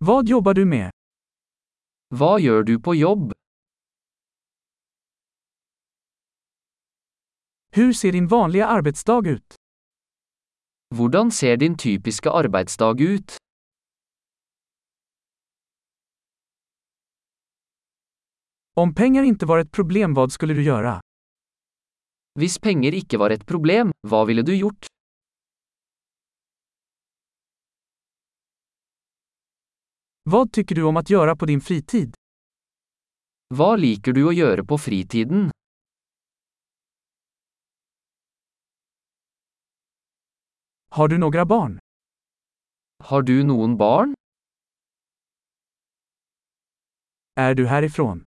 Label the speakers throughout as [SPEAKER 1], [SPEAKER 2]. [SPEAKER 1] Vad jobbar du med?
[SPEAKER 2] Hva gjør du på jobb?
[SPEAKER 1] Hur ser din vanliga arbetsdag ut?
[SPEAKER 2] Hvordan ser din typiske arbeidsdag ut?
[SPEAKER 1] Om pengar inte var ett problem, vad skulle du göra?
[SPEAKER 2] Hvis penger ikke var et problem, hva ville du gjort?
[SPEAKER 1] Vad tycker du om att göra på din fritid?
[SPEAKER 2] Hva liker du å gjøre på fritiden?
[SPEAKER 1] Har du några barn?
[SPEAKER 2] Har du noen barn?
[SPEAKER 1] Är du härifrån?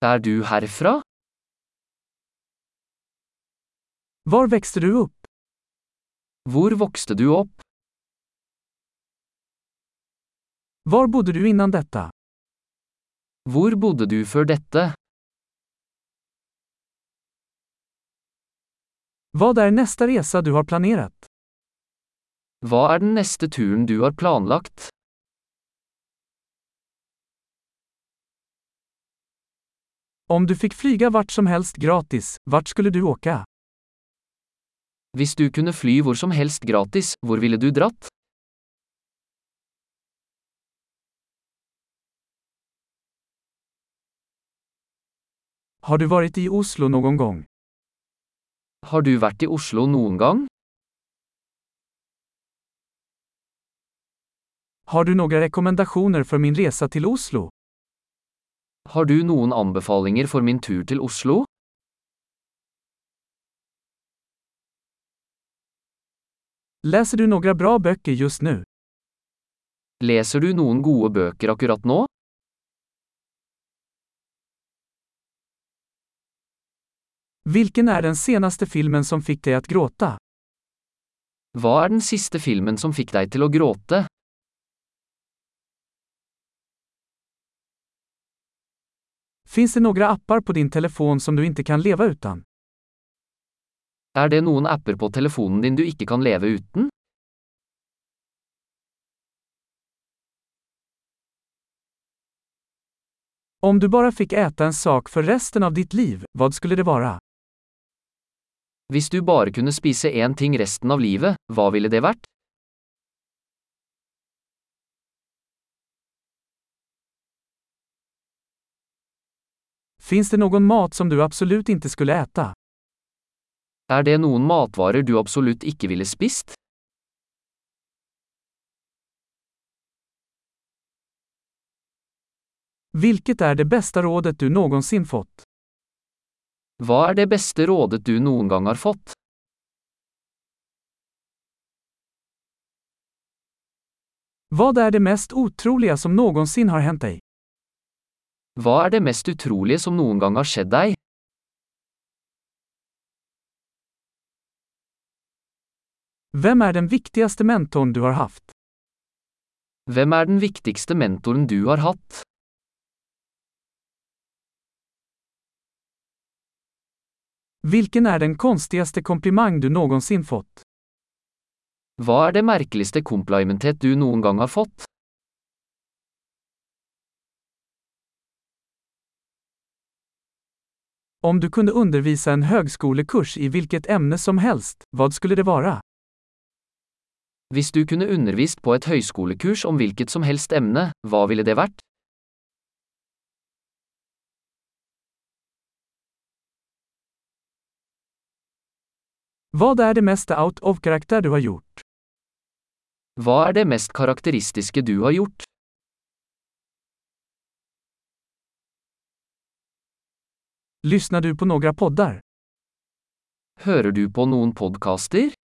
[SPEAKER 2] Er du herfra?
[SPEAKER 1] Var växte du upp?
[SPEAKER 2] Hvor vokste du opp?
[SPEAKER 1] Var bodde du innan detta?
[SPEAKER 2] Hvor bodde du før dette?
[SPEAKER 1] Vad är nästa resa du har planerat?
[SPEAKER 2] Hva er den neste turen du har planlagt?
[SPEAKER 1] Om du fick flyga vart som helst gratis, vart skulle du åka?
[SPEAKER 2] Hvis du kunne fly hvor som helst gratis, hvor ville du dratt?
[SPEAKER 1] Har du varit i Oslo någon gång?
[SPEAKER 2] Har du vært i Oslo noen gang?
[SPEAKER 1] Har du några rekommendationer för min resa till Oslo?
[SPEAKER 2] Har du noen anbefalinger for min tur til Oslo?
[SPEAKER 1] Läser du några bra böcker just nu?
[SPEAKER 2] Leser du noen gode bøker akkurat nå?
[SPEAKER 1] Vilken är den senaste filmen som fick dig att gråta?
[SPEAKER 2] Hva er den siste filmen som fikk deg til å gråte?
[SPEAKER 1] Finns det några appar på din telefon som du inte kan leva utan?
[SPEAKER 2] Er det noen apper på telefonen din du ikke kan leve uten?
[SPEAKER 1] Om du bara fick äta en sak för resten av ditt liv, vad skulle det vara?
[SPEAKER 2] Hvis du bare kunne spise én ting resten av livet, hva ville det vært?
[SPEAKER 1] Finns det någon mat som du absolut inte skulle äta?
[SPEAKER 2] Er det noen matvarer du absolutt ikke ville spist?
[SPEAKER 1] Vilket är det bästa rådet du någonsin fått?
[SPEAKER 2] Hva er det beste rådet du noen gang har fått?
[SPEAKER 1] Vad är det mest otroliga som någonsin har hänt dig?
[SPEAKER 2] Hva er det mest utrolige som noen gang har skjedd deg?
[SPEAKER 1] Vem är den viktigaste mentorn du har haft?
[SPEAKER 2] Hvem er den viktigste mentoren du har hatt?
[SPEAKER 1] Vilken är den konstigaste komplimang du någonsin fått?
[SPEAKER 2] Hva er det merkeligste komplimentet du noen gang har fått?
[SPEAKER 1] Om du kunde undervisa en högskolekurs i vilket ämne som helst, vad skulle det vara?
[SPEAKER 2] Hvis du kunne undervist på et høyskolekurs om hvilket som helst emne, hva ville det vært?
[SPEAKER 1] Vad är det mesta out of karaktär du har gjort?
[SPEAKER 2] Hva er det mest karakteristiske du har gjort?
[SPEAKER 1] Lyssnar du på några poddar?
[SPEAKER 2] Hører du på noen podkaster?